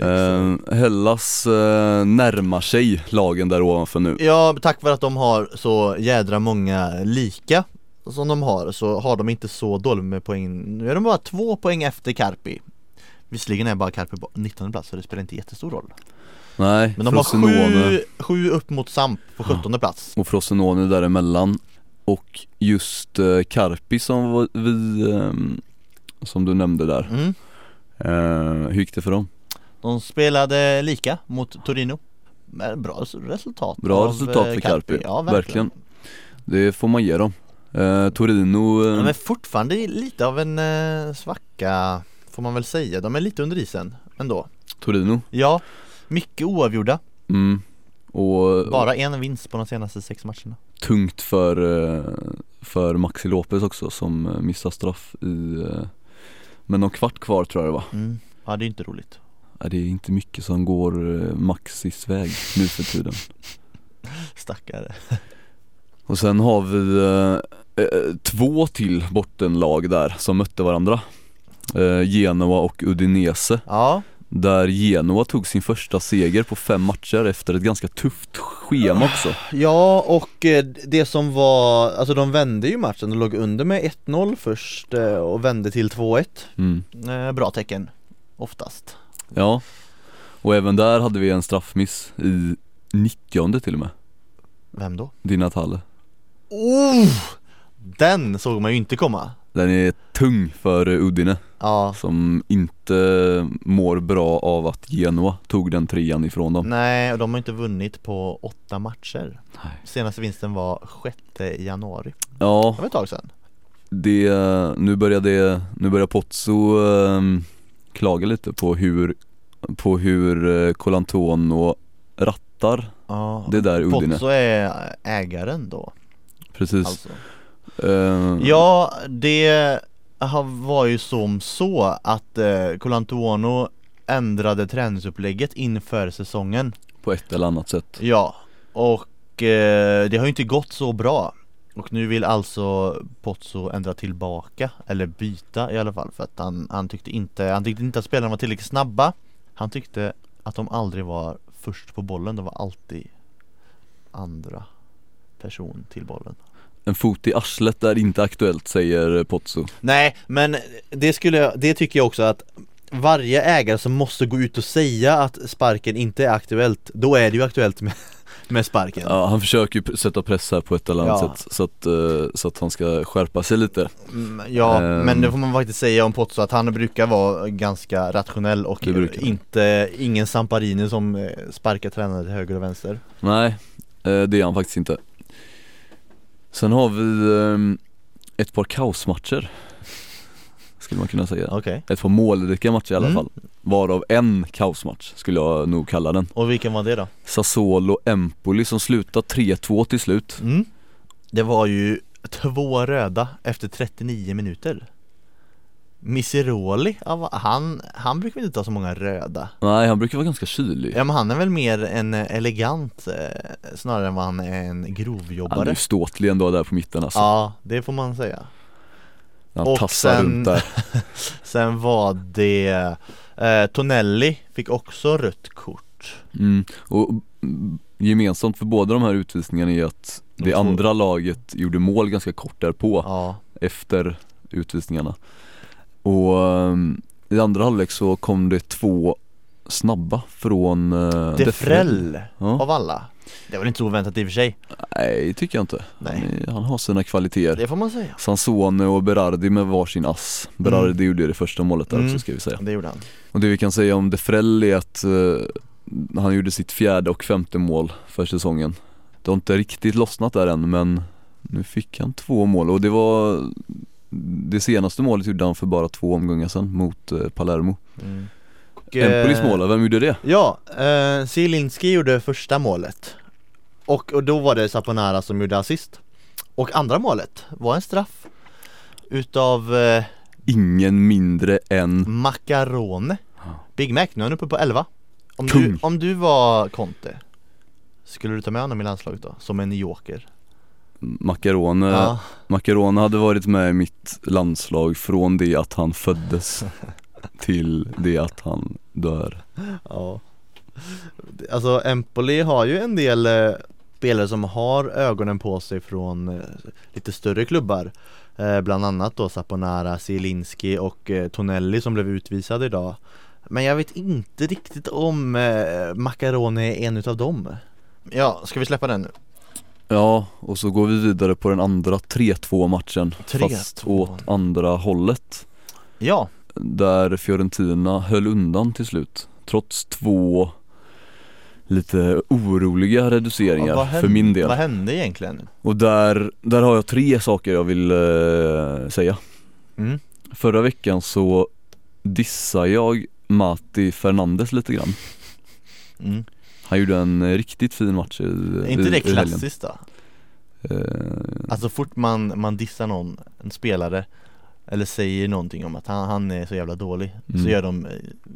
Speaker 1: Ehm, Hellas eh, närmar sig lagen där ovanför nu.
Speaker 2: Ja, tack vare att de har så jädra många lika som de har så har de inte så dåligt med poäng. Nu är de bara två poäng efter Carpi. Visserligen är bara Carpi på 19 plats så det spelar inte jättestor roll.
Speaker 1: Nej,
Speaker 2: Men de har
Speaker 1: Frosinone
Speaker 2: sju, sju upp mot Samp på 17 plats.
Speaker 1: och Frosinone däremellan. Och just eh, Carpi som var- vi, ehm, som du nämnde där.
Speaker 2: Mm.
Speaker 1: Eh, hur gick det för dem?
Speaker 2: De spelade lika mot Torino. Men bra res- resultat
Speaker 1: Bra
Speaker 2: av,
Speaker 1: resultat
Speaker 2: eh,
Speaker 1: för Carpi,
Speaker 2: Ja, verkligen.
Speaker 1: verkligen. Det får man ge dem. Eh, Torino, eh,
Speaker 2: Ja, men fortfarande lite av en eh, svacka får man väl säga. De är lite under isen ändå.
Speaker 1: Torino.
Speaker 2: Ja, mycket oavgjorda.
Speaker 1: Mm. Och,
Speaker 2: Bara en vinst på de senaste sex matcherna.
Speaker 1: tungt för, eh, för Maxi Lopez också som eh, missar straff i eh, Men någon kvart kvar tror jag det var
Speaker 2: Mm. Ja, det är inte roligt.
Speaker 1: Nej, Det är inte mycket som går eh, Maxis väg nu för tiden
Speaker 2: Stackare.
Speaker 1: Och sen har vi eh, eh, två till bottenlag där som mötte varandra eh, Genoa och Udinese
Speaker 2: Ja,
Speaker 1: Där Genoa tog sin första seger på fem matcher efter ett ganska tufft schema också
Speaker 2: ja och eh, det som var, alltså de vände ju matchen. De låg under med 1-0 först eh, och vände till 2-1.
Speaker 1: mm.
Speaker 2: Eh, Bra tecken, oftast.
Speaker 1: Ja Och även där hade vi en straffmiss i 90 till och med
Speaker 2: Vem då?
Speaker 1: Di Natale
Speaker 2: Oh! Den såg man ju inte komma.
Speaker 1: Den är tung för Udine
Speaker 2: Ja,
Speaker 1: som inte mår bra av att Genoa tog den trean ifrån dem.
Speaker 2: nej, och de har inte vunnit på åtta matcher.
Speaker 1: Nej.
Speaker 2: Senaste vinsten var 6 januari.
Speaker 1: Ja,
Speaker 2: Det var ett tag sedan.
Speaker 1: det, nu börjar det, nu börjar Pozzo ehm, klaga lite på hur, på hur eh, Colantuono rattar
Speaker 2: Ja,
Speaker 1: det där Udine.
Speaker 2: Pozzo är ägaren då.
Speaker 1: Precis.
Speaker 2: Alltså.
Speaker 1: Ehm,
Speaker 2: Ja, det har- var ju som så att eh, Colantuono ändrade träningsupplägget inför säsongen.
Speaker 1: På ett eller annat sätt.
Speaker 2: Ja, och eh, det har ju inte gått så bra. Och nu vill alltså Pozzo ändra tillbaka, eller byta i alla fall för att han, han, tyckte inte, han tyckte inte att spelarna var tillräckligt snabba Han tyckte att de aldrig var först på bollen, de var alltid andra person till bollen
Speaker 1: En fot i arslet är inte aktuellt säger eh, Pozzo.
Speaker 2: Nej, men det skulle jag, det tycker jag också att varje ägare som måste gå ut och säga att sparken inte är aktuellt, då är det ju aktuellt med, [LAUGHS] med sparken.
Speaker 1: Ja, han försöker ju p- sätta press här på ett eller annat
Speaker 2: Ja.
Speaker 1: sätt så att, eh, så att han ska skärpa sig lite.
Speaker 2: Mm, ja,
Speaker 1: Ehm.
Speaker 2: men det får man faktiskt säga om Pozzo att han brukar vara ganska rationell och
Speaker 1: Det brukar han.
Speaker 2: inte, ingen Samparini som eh, sparkar tränare till höger och vänster.
Speaker 1: Nej, eh, det är han faktiskt inte Sen har vi ehm, ett par kaosmatcher Skulle man kunna säga
Speaker 2: Okej.
Speaker 1: Ett par målrika matcher i alla
Speaker 2: Mm.
Speaker 1: fall Varav en kaosmatch skulle jag nog kalla den
Speaker 2: Och vilken var det då?
Speaker 1: Sassuolo-Empoli som slutar 3-2 till slut
Speaker 2: Mm. Det var ju två röda efter 39 minuter. Miseroli, ja, va- han, han brukar väl inte ha så många röda?
Speaker 1: Nej han brukar vara ganska kylig
Speaker 2: Ja men han är väl mer en eh, elegant eh, snarare än vad han är en
Speaker 1: Han är
Speaker 2: grovjobbare
Speaker 1: ju ståtlig ändå där på mitten alltså
Speaker 2: Ja, det får man säga
Speaker 1: När Han
Speaker 2: och
Speaker 1: tassar
Speaker 2: sen-
Speaker 1: runt där
Speaker 2: Sen var det eh, Tonelli fick också rött kort
Speaker 1: mm. Och mm, gemensamt för båda de här utvisningarna är att
Speaker 2: De
Speaker 1: det
Speaker 2: två-
Speaker 1: andra laget gjorde mål ganska kort därpå
Speaker 2: Ja,
Speaker 1: efter utvisningarna. Och ehm, i andra halvlek så kom det två snabba från uh,
Speaker 2: Defrell
Speaker 1: Ja.
Speaker 2: av alla Det var väl inte så oväntat i och för sig
Speaker 1: Nej, tycker jag inte. Han,
Speaker 2: Nej,
Speaker 1: är, han har sina kvaliteter.
Speaker 2: det får man säga
Speaker 1: Sansone och Berardi med varsin ass. Berardi gjorde det första målet där
Speaker 2: Mm.
Speaker 1: också ska vi säga.
Speaker 2: Det gjorde han
Speaker 1: Och det vi kan säga om Defrell är att eh, han gjorde sitt fjärde och femte mål för säsongen. Det har inte riktigt lossnat där än men nu fick han två mål och det var det senaste målet gjorde han för bara två omgångar sedan mot eh, Palermo.
Speaker 2: mm. Och,
Speaker 1: Empolis
Speaker 2: eh,
Speaker 1: mål, vem gjorde det?
Speaker 2: Ja, eh, Zielinski gjorde första målet och, och då var det Saponara som gjorde assist Och andra målet var en straff Utav eh,
Speaker 1: Ingen mindre än
Speaker 2: Macarone Big Mac, nu är han uppe på 11 om du,
Speaker 1: Kung.
Speaker 2: om du var Conte Skulle du ta med honom i landslaget då? Som en joker?
Speaker 1: Macarone.
Speaker 2: Ja, [LAUGHS]
Speaker 1: Macarone hade varit med i mitt landslag från det att han föddes. till det att han dör
Speaker 2: Ja Alltså Empoli har ju en del eh, spelare som har ögonen på sig från eh, lite större klubbar eh, Bland annat då Saponara, Zielinski och eh, Tonelli som blev utvisade idag Men jag vet inte riktigt om eh, Macaroni är en utav dem Ja, ska vi släppa den nu?
Speaker 1: Ja, och så går vi vidare på den andra 3-2 matchen
Speaker 2: 3-2.
Speaker 1: Fast åt andra hållet
Speaker 2: Ja,
Speaker 1: Där Fiorentina höll undan till slut Trots två lite oroliga reduceringar
Speaker 2: vad hände,
Speaker 1: för min del
Speaker 2: vad hände egentligen?
Speaker 1: Och där, där har jag tre saker jag vill eh, säga
Speaker 2: Mm.
Speaker 1: Förra veckan så dissade jag Mati Fernandes lite grann
Speaker 2: Mm.
Speaker 1: Han gjorde en eh, riktigt fin match i,
Speaker 2: Är
Speaker 1: i,
Speaker 2: inte det
Speaker 1: i helgen
Speaker 2: klassiskt då?
Speaker 1: eh,
Speaker 2: Alltså fort man, man dissar någon, en spelare Eller säger någonting om att han, han är så jävla dålig Så
Speaker 1: Mm.
Speaker 2: gör de eh,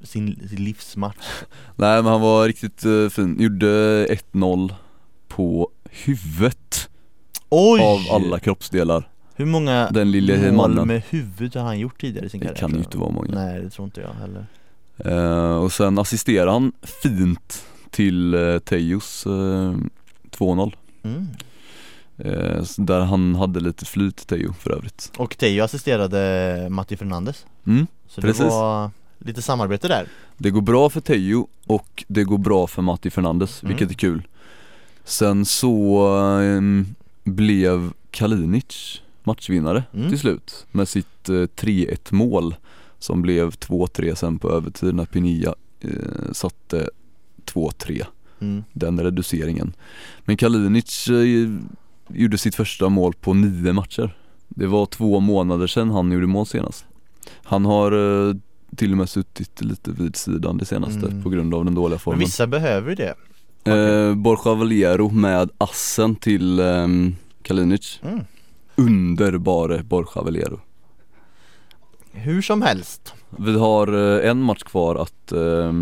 Speaker 2: sin, sin livsmatch
Speaker 1: Nej men han var riktigt eh, fin, gjorde 1-0 på huvudet
Speaker 2: Oj!
Speaker 1: av alla kroppsdelar
Speaker 2: Hur många
Speaker 1: Den lille
Speaker 2: mål
Speaker 1: mannen,
Speaker 2: med huvud har han gjort tidigare i sin
Speaker 1: det
Speaker 2: karriär?
Speaker 1: kan ju
Speaker 2: tror
Speaker 1: inte vara många
Speaker 2: jag. Nej det tror inte jag heller
Speaker 1: Eh, och sen assisterar han fint till eh, Tejos eh, 2-0
Speaker 2: mm.
Speaker 1: eh, s- Där han hade lite flyt Tejo för övrigt
Speaker 2: Och Teo assisterade Matti Fernandes
Speaker 1: mm.
Speaker 2: Så det
Speaker 1: Precis.
Speaker 2: var lite samarbete där
Speaker 1: Det går bra för Tejo och det går bra för Matti Fernandes,
Speaker 2: Mm.
Speaker 1: vilket är kul Sen så ehm, blev Kalinic matchvinnare
Speaker 2: Mm.
Speaker 1: till slut med sitt eh, 3-1 mål som blev 2-3 sen på övertid när Pinilla eh, satte 2-3
Speaker 2: mm.
Speaker 1: den reduceringen. Men Kalinic eh, gjorde sitt första mål på nio matcher. Det var två månader sedan han gjorde mål senast. Han har eh, till och med suttit lite vid sidan det senaste
Speaker 2: Mm.
Speaker 1: på grund av den dåliga
Speaker 2: Men
Speaker 1: formen.
Speaker 2: vissa behöver ju det
Speaker 1: Eh, Borja Valero med assen till eh, Kalinic.
Speaker 2: mm.
Speaker 1: Underbare Borja Valero.
Speaker 2: Hur som helst
Speaker 1: Vi har eh, en match kvar att eh,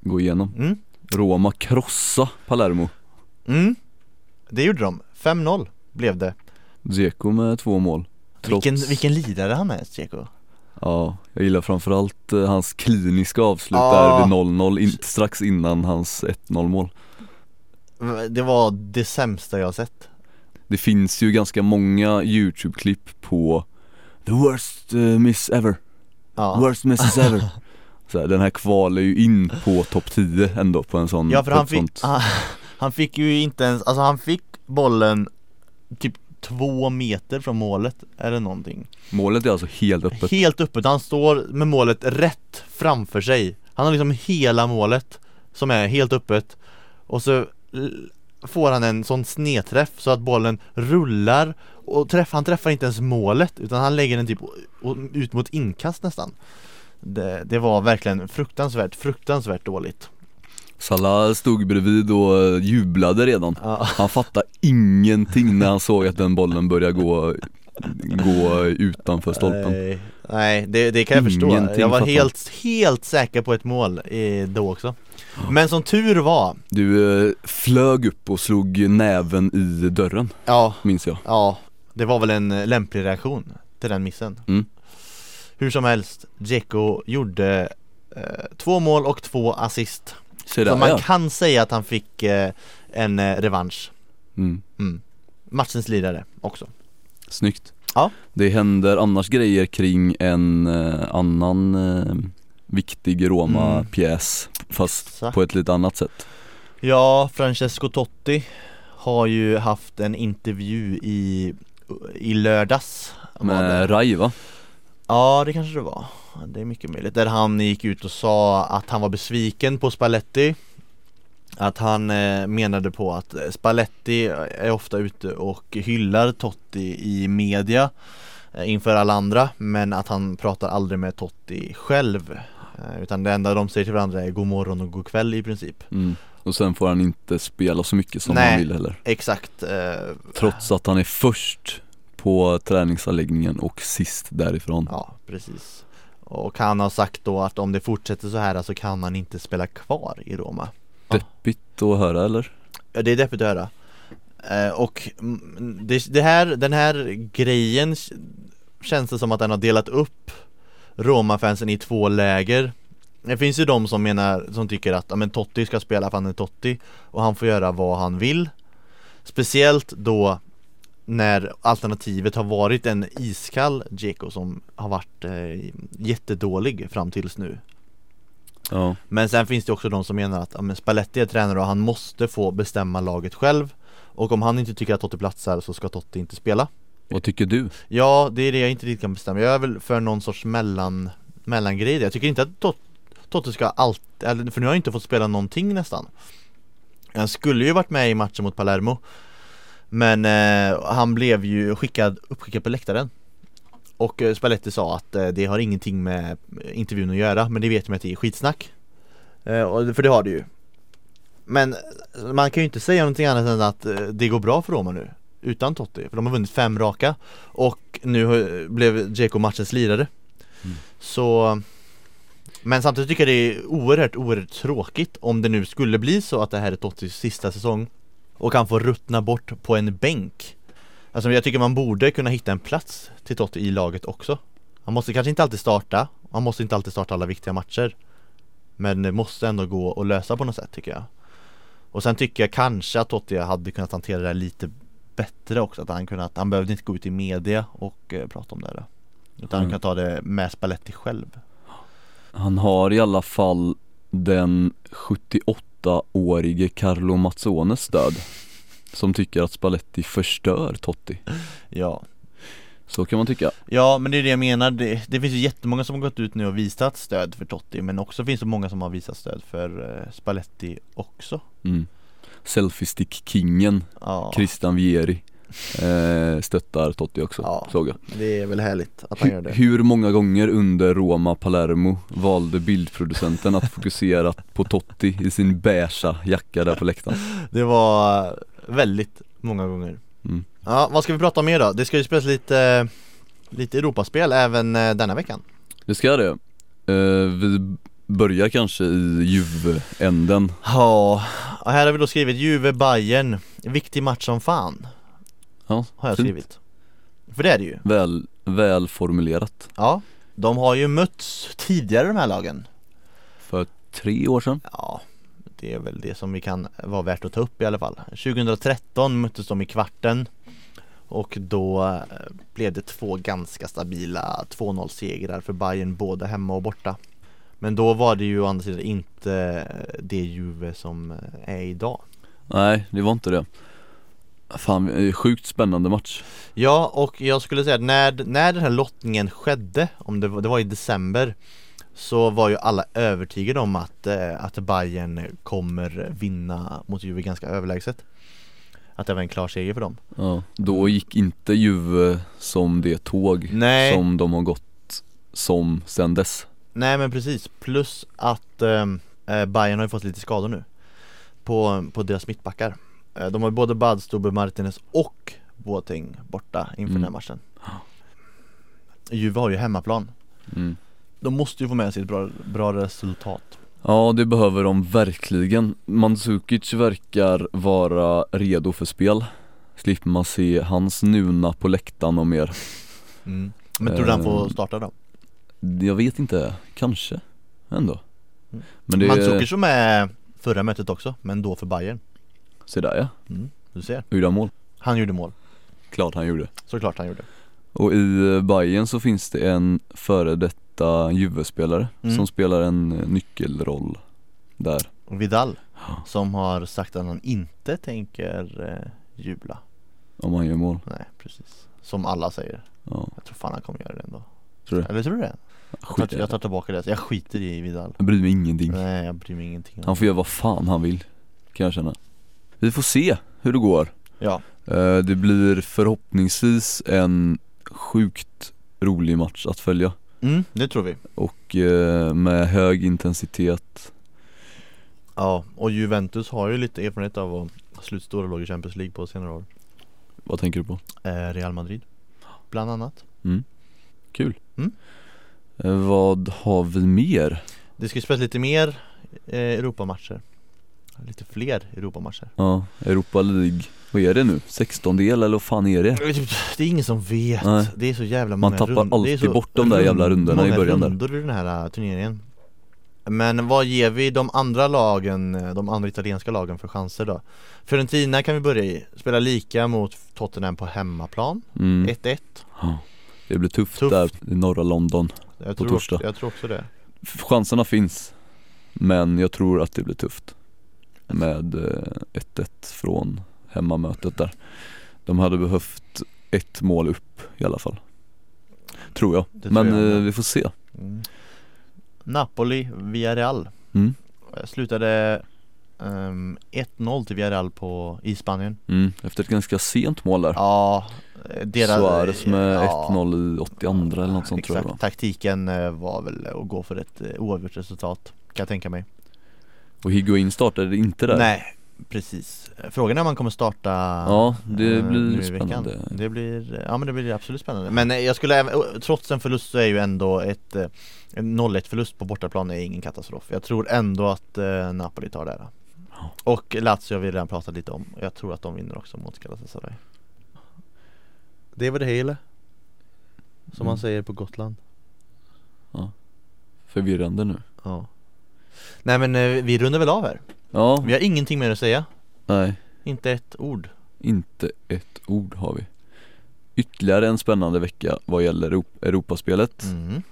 Speaker 1: gå igenom.
Speaker 2: mm.
Speaker 1: Roma krossa Palermo.
Speaker 2: Mm. Det gjorde de, 5-0 blev det
Speaker 1: Dzeko med två mål. Trots-
Speaker 2: Vilken, vilken lirare han är, Dzeko
Speaker 1: Ja, jag gillar framförallt eh, hans kliniska avslut där
Speaker 2: Ah.
Speaker 1: vid 0-0, in, strax innan hans 1-0 mål
Speaker 2: Det var det sämsta jag har sett
Speaker 1: Det finns ju ganska många YouTube-klipp på The worst eh, miss ever,
Speaker 2: Ja,
Speaker 1: worst misses
Speaker 2: [LAUGHS]
Speaker 1: ever så här, Den här kvalar ju in på topp 10 ändå på en sån
Speaker 2: ja för
Speaker 1: på
Speaker 2: han
Speaker 1: ett
Speaker 2: fick,
Speaker 1: sånt-
Speaker 2: han, [LAUGHS] han fick ju inte ens, alltså han fick bollen typ två meter från målet eller någonting
Speaker 1: Målet är alltså helt öppet
Speaker 2: Helt öppet, han står med målet rätt framför sig Han har liksom hela målet som är helt öppet Och så l- får han en sån snedträff så att bollen rullar och träff, han träffar inte ens målet utan han lägger den typ o- o- ut mot inkast nästan det, det var verkligen fruktansvärt, fruktansvärt dåligt
Speaker 1: Salah stod bredvid och eh, jublade redan
Speaker 2: Ja,
Speaker 1: Han fattade ingenting när han såg att den bollen började gå, gå utanför stolpen
Speaker 2: nej, nej det, det kan jag förstå.
Speaker 1: Ingenting
Speaker 2: Jag var
Speaker 1: fattar.
Speaker 2: helt, helt säker på ett mål eh, då också. Men som tur var,
Speaker 1: Du eh, flög upp och slog näven i dörren,
Speaker 2: ja,
Speaker 1: minns jag
Speaker 2: ja, det var väl en eh, lämplig reaktion till den missen.
Speaker 1: Mm.
Speaker 2: Hur som helst, Dzeko gjorde eh, två mål och två assist.
Speaker 1: Se
Speaker 2: Så
Speaker 1: där
Speaker 2: man
Speaker 1: ja
Speaker 2: kan säga att han fick eh, en eh, revansch.
Speaker 1: mm.
Speaker 2: Mm. Matchens lirare också.
Speaker 1: Snyggt
Speaker 2: Ja.
Speaker 1: Det händer annars grejer kring en eh, annan eh, viktig Roma-pjäs
Speaker 2: Mm.
Speaker 1: Fast
Speaker 2: Exakt.
Speaker 1: på ett lite annat sätt
Speaker 2: Ja, Francesco Totti har ju haft en intervju i, i lördags var det.
Speaker 1: Med Rai va?
Speaker 2: Ja, det kanske det var Det är mycket möjligt Där han gick ut och sa att han var besviken på Spalletti Att han eh, menade på att eh, Spalletti är ofta ute och hyllar Totti i media eh, Inför alla andra Men att han pratar aldrig med Totti själv Eh, Utan det enda de säger till varandra är god morgon och god kväll i princip
Speaker 1: Mm. Och sen får han inte spela så mycket som
Speaker 2: Nej.
Speaker 1: han vill heller
Speaker 2: Exakt eh,
Speaker 1: Trots att han är först på träningsanläggningen och sist därifrån
Speaker 2: Ja, precis. Och han har sagt då att om det fortsätter så här så kan han inte spela kvar i Roma.
Speaker 1: Deppigt att höra eller?
Speaker 2: Ja, det är deppigt att höra. Eh, Och mm, det, det här, den här grejen k- känns det som att den har delat upp Roma-fansen i två läger Det finns ju de som menar, som tycker att ja, men Totti ska spela för han är Totti Och han får göra vad han vill Speciellt då när alternativet har varit en iskall Dzeko som har varit eh, jättedålig fram tills nu
Speaker 1: Ja,
Speaker 2: men sen finns det också de som menar att ja, men Spalletti är tränare och han måste få bestämma laget själv Och om han inte tycker att Totti platsar så ska Totti inte spela
Speaker 1: vad tycker du?
Speaker 2: Ja, det är det jag inte riktigt kan bestämma Jag är väl för någon sorts mellan, mellangrej där. Jag tycker inte att Tot- Totti ska allt, eller, för nu har jag inte fått spela någonting nästan Han skulle ju varit med i matchen mot Palermo Men eh, han blev ju skickad, uppskickad på läktaren Och eh, Spalletti sa att eh, det har ingenting med intervjun att göra Men det vet man att det är skitsnack eh, och, För det har det ju Men man kan ju inte säga någonting annat än att eh, det går bra för Roma nu Utan Totti, för de har vunnit fem raka Och nu har- blev Dzeko matchens lirare
Speaker 1: Mm.
Speaker 2: Så Men samtidigt tycker jag det är oerhört, oerhört tråkigt Om det nu skulle bli så att det här är Tottis sista säsong Och han får ruttna bort på en bänk Alltså jag tycker man borde kunna hitta en plats till Totti i laget också Han måste kanske inte alltid starta Han måste inte alltid starta alla viktiga matcher Men det måste ändå gå att lösa på något sätt tycker jag och sen tycker jag kanske att Totti hade kunnat hantera det här lite bättre också Att han, kunnat, han behövde inte gå ut i media och eh, prata om det här Utan han
Speaker 1: Mm.
Speaker 2: kan ta det med Spalletti själv
Speaker 1: Han har i alla fall den 78-årige Carlo Mazzones stöd Som tycker att Spalletti förstör Totti
Speaker 2: Ja
Speaker 1: Så kan man tycka
Speaker 2: Ja men det är det jag menar, det, det finns ju jättemånga som har gått ut nu och visat stöd för Totti Men också finns det många som har visat stöd för eh, Spalletti också
Speaker 1: mm. Selfiestick-kingen
Speaker 2: Ja
Speaker 1: Christian Vieri eh, Stöttar Totti också,
Speaker 2: Ja.
Speaker 1: såg jag
Speaker 2: Det är väl härligt att han gör
Speaker 1: hur,
Speaker 2: det
Speaker 1: hur många gånger under Roma Palermo valde bildproducenten att fokusera på Totti i sin beiga jacka där på läktaren?
Speaker 2: Det var eh, väldigt många gånger
Speaker 1: Mm.
Speaker 2: Ja, vad ska vi prata om mer då? Det ska ju spelas lite, lite Europaspel även eh, denna veckan
Speaker 1: Det ska det eh, Vi börjar kanske i Juve-änden
Speaker 2: Ja, och här har vi då skrivit Juve Bayern Viktig match som fan
Speaker 1: Ja,
Speaker 2: Har jag
Speaker 1: fint.
Speaker 2: skrivit För det är det ju
Speaker 1: Väl, välformulerat
Speaker 2: Ja De har ju mötts tidigare de här lagen
Speaker 1: För tre år sedan
Speaker 2: Ja Det är väl det som vi kan vara värt att ta upp i alla fall 2013 möttes de i kvarten Och då eh, blev det två ganska stabila 2-0 segrar för Bayern både hemma och borta Men då var det ju å andra sidan inte eh, det Juve som eh, är idag
Speaker 1: Nej, det var inte det Fan, eh, sjukt spännande match
Speaker 2: Ja, och jag skulle säga att när, när den här lottningen skedde, om det, var- det var i december Så var ju alla övertygade om att, eh, att Bayern kommer vinna mot Juve ganska överlägset Att det var en klar seger för dem
Speaker 1: ja. Då gick inte Juve som det tåg
Speaker 2: Nej,
Speaker 1: som de har gått som sen dess
Speaker 2: nej men precis, plus att eh, eh, Bayern har ju fått lite skador nu På, på deras mittbackar Eh, De har ju både Badstube, Martinez och Boateng borta inför den här
Speaker 1: Mm.
Speaker 2: matchen Juve har ju hemmaplan
Speaker 1: mm.
Speaker 2: De måste ju få med sig ett bra, bra resultat
Speaker 1: Ja det behöver de verkligen Mandzukic verkar vara redo för spel Slipper man se hans nuna på läktaren och mer
Speaker 2: Mm. Men tror du han
Speaker 1: Eh,
Speaker 2: får starta då?
Speaker 1: Jag vet inte, kanske ändå
Speaker 2: Mm.
Speaker 1: Men det
Speaker 2: Mandzukic som är förra mötet också, men då för Bayern Mm,
Speaker 1: se där ja,
Speaker 2: Du ser,
Speaker 1: gjorde han mål?
Speaker 2: han gjorde mål
Speaker 1: Klart han gjorde
Speaker 2: Såklart han gjorde
Speaker 1: Och i eh, Bayern så finns det en före detta Juve-spelare
Speaker 2: Mm.
Speaker 1: som spelar en eh, nyckelroll där
Speaker 2: Och Vidal,
Speaker 1: Ja.
Speaker 2: som har sagt att han inte tänker eh, jubla
Speaker 1: Om han gör mål,
Speaker 2: Nej, precis Som alla säger
Speaker 1: ja,
Speaker 2: Jag tror fan han kommer göra det ändå
Speaker 1: Tror du?
Speaker 2: Eller tror du det? Jag
Speaker 1: skit i
Speaker 2: tar,
Speaker 1: det.
Speaker 2: jag tar tillbaka det, jag skiter i Vidal
Speaker 1: Jag bryr mig ingenting
Speaker 2: Nej, jag bryr mig ingenting om
Speaker 1: Han får göra vad fan han vill, kan jag känna Vi får se hur det går
Speaker 2: Ja,
Speaker 1: Eh, Det blir förhoppningsvis en sjukt rolig match att följa
Speaker 2: mm, det tror vi
Speaker 1: och eh, med hög intensitet
Speaker 2: Ja, och Juventus har ju lite erfarenhet av att slutstora lag i Champions League på senare år
Speaker 1: Vad tänker du på?
Speaker 2: eh, Real Madrid Bland annat
Speaker 1: Kul
Speaker 2: Mm.
Speaker 1: Eh, Vad har vi mer?
Speaker 2: Det ska ju spelas lite mer eh, Europamatcher Lite fler Europamatcher
Speaker 1: Ja, Europa League Vad är det nu? 16 del eller vad fan är det?
Speaker 2: Det är ingen som vet,
Speaker 1: Nej.
Speaker 2: det är så jävla
Speaker 1: Man
Speaker 2: många
Speaker 1: tappar
Speaker 2: rund- det är
Speaker 1: alltid
Speaker 2: så
Speaker 1: bort de där
Speaker 2: rund-
Speaker 1: jävla rundorna i början där.
Speaker 2: Många rundor i den här äh, turneringen Men vad ger vi de andra lagen, äh, de andra italienska lagen för chanser då? Fiorentina kan vi börja i, spela lika mot Tottenham på hemmaplan,
Speaker 1: Mm.
Speaker 2: 1-1
Speaker 1: Det blir tufft,
Speaker 2: Tufft.
Speaker 1: där i norra London
Speaker 2: jag
Speaker 1: På
Speaker 2: tror, också,
Speaker 1: torsdag.
Speaker 2: jag tror också det
Speaker 1: F- Chanserna finns Men jag tror att det blir tufft Med eh, 1-1 från hemmamötet där De hade behövt ett mål upp i alla fall Tror jag,
Speaker 2: Det
Speaker 1: men
Speaker 2: tror jag
Speaker 1: eh,
Speaker 2: med.
Speaker 1: vi får se
Speaker 2: mm. Napoli, Villarreal
Speaker 1: mm.
Speaker 2: Eh, Slutade ehm, 1-0 till Villarreal på, i Spanien
Speaker 1: Mm. Efter ett ganska sent mål där
Speaker 2: Ja, eh, deras
Speaker 1: Suarez med
Speaker 2: ja.
Speaker 1: 1-0 i 82 eller något sånt tror jag det var.
Speaker 2: Exakt, taktiken eh, var väl att gå för ett eh, oavgjort resultat kan jag tänka mig
Speaker 1: Och Higuain startade inte där
Speaker 2: Nej, precis Frågan är om man kommer starta
Speaker 1: Ja, det
Speaker 2: eh,
Speaker 1: blir
Speaker 2: nu i veckan.
Speaker 1: spännande
Speaker 2: Det blir, ja men det blir absolut spännande Men eh, jag skulle även, oh, trots en förlust så är ju ändå ett eh, en 0-1 förlust på bortaplan är ingen katastrof Jag tror ändå att eh, Napoli tar det här
Speaker 1: Ja.
Speaker 2: Och Lazio har vi redan pratat lite om Jag tror att de vinner också mot Galatasaray Det var det hela Som man
Speaker 1: Mm.
Speaker 2: säger på Gotland
Speaker 1: Förvirrande nu
Speaker 2: Ja Nej men eh, vi rundar väl av här
Speaker 1: Ja,
Speaker 2: Vi har ingenting mer att säga
Speaker 1: nej
Speaker 2: Inte ett ord
Speaker 1: Inte ett ord har vi Ytterligare en spännande vecka vad gäller Europ- Europaspelet
Speaker 2: mm.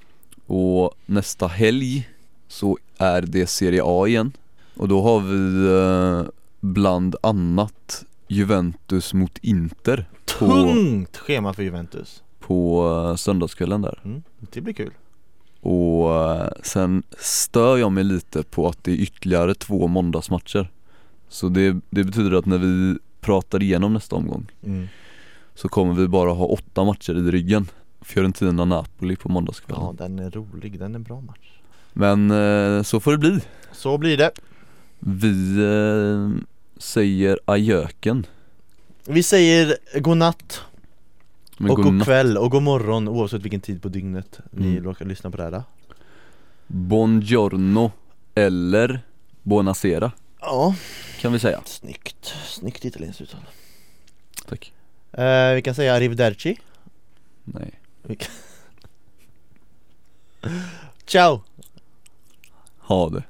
Speaker 1: Och nästa helg så är det Serie A igen Och då har vi eh, bland annat Juventus mot Inter på,
Speaker 2: Tungt schema för Juventus
Speaker 1: på eh, söndagskvällen där
Speaker 2: mm. Det blir kul
Speaker 1: Och eh, sen stör jag mig lite på att det är ytterligare två måndagsmatcher Så det, det betyder att när vi pratar igenom nästa omgång
Speaker 2: mm.
Speaker 1: så kommer vi bara ha åtta matcher i ryggen Fiorentina-Napoli på måndagskvällen
Speaker 2: Ja den är rolig, den är en bra match
Speaker 1: Men eh, så får det bli
Speaker 2: Så blir det
Speaker 1: Vi eh, säger adjöken
Speaker 2: Vi säger godnatt
Speaker 1: Men
Speaker 2: och god
Speaker 1: godnatt.
Speaker 2: kväll och god morgon oavsett vilken tid på dygnet ni
Speaker 1: Mm.
Speaker 2: råkar lyssna på det här
Speaker 1: Buongiorno eller Buonasera
Speaker 2: Ja,
Speaker 1: kan vi säga
Speaker 2: snyggt, snyggt italienskt uttal
Speaker 1: Tack
Speaker 2: eh, Vi kan säga arrivederci
Speaker 1: Nej
Speaker 2: Vi kan- Ciao!
Speaker 1: Ha det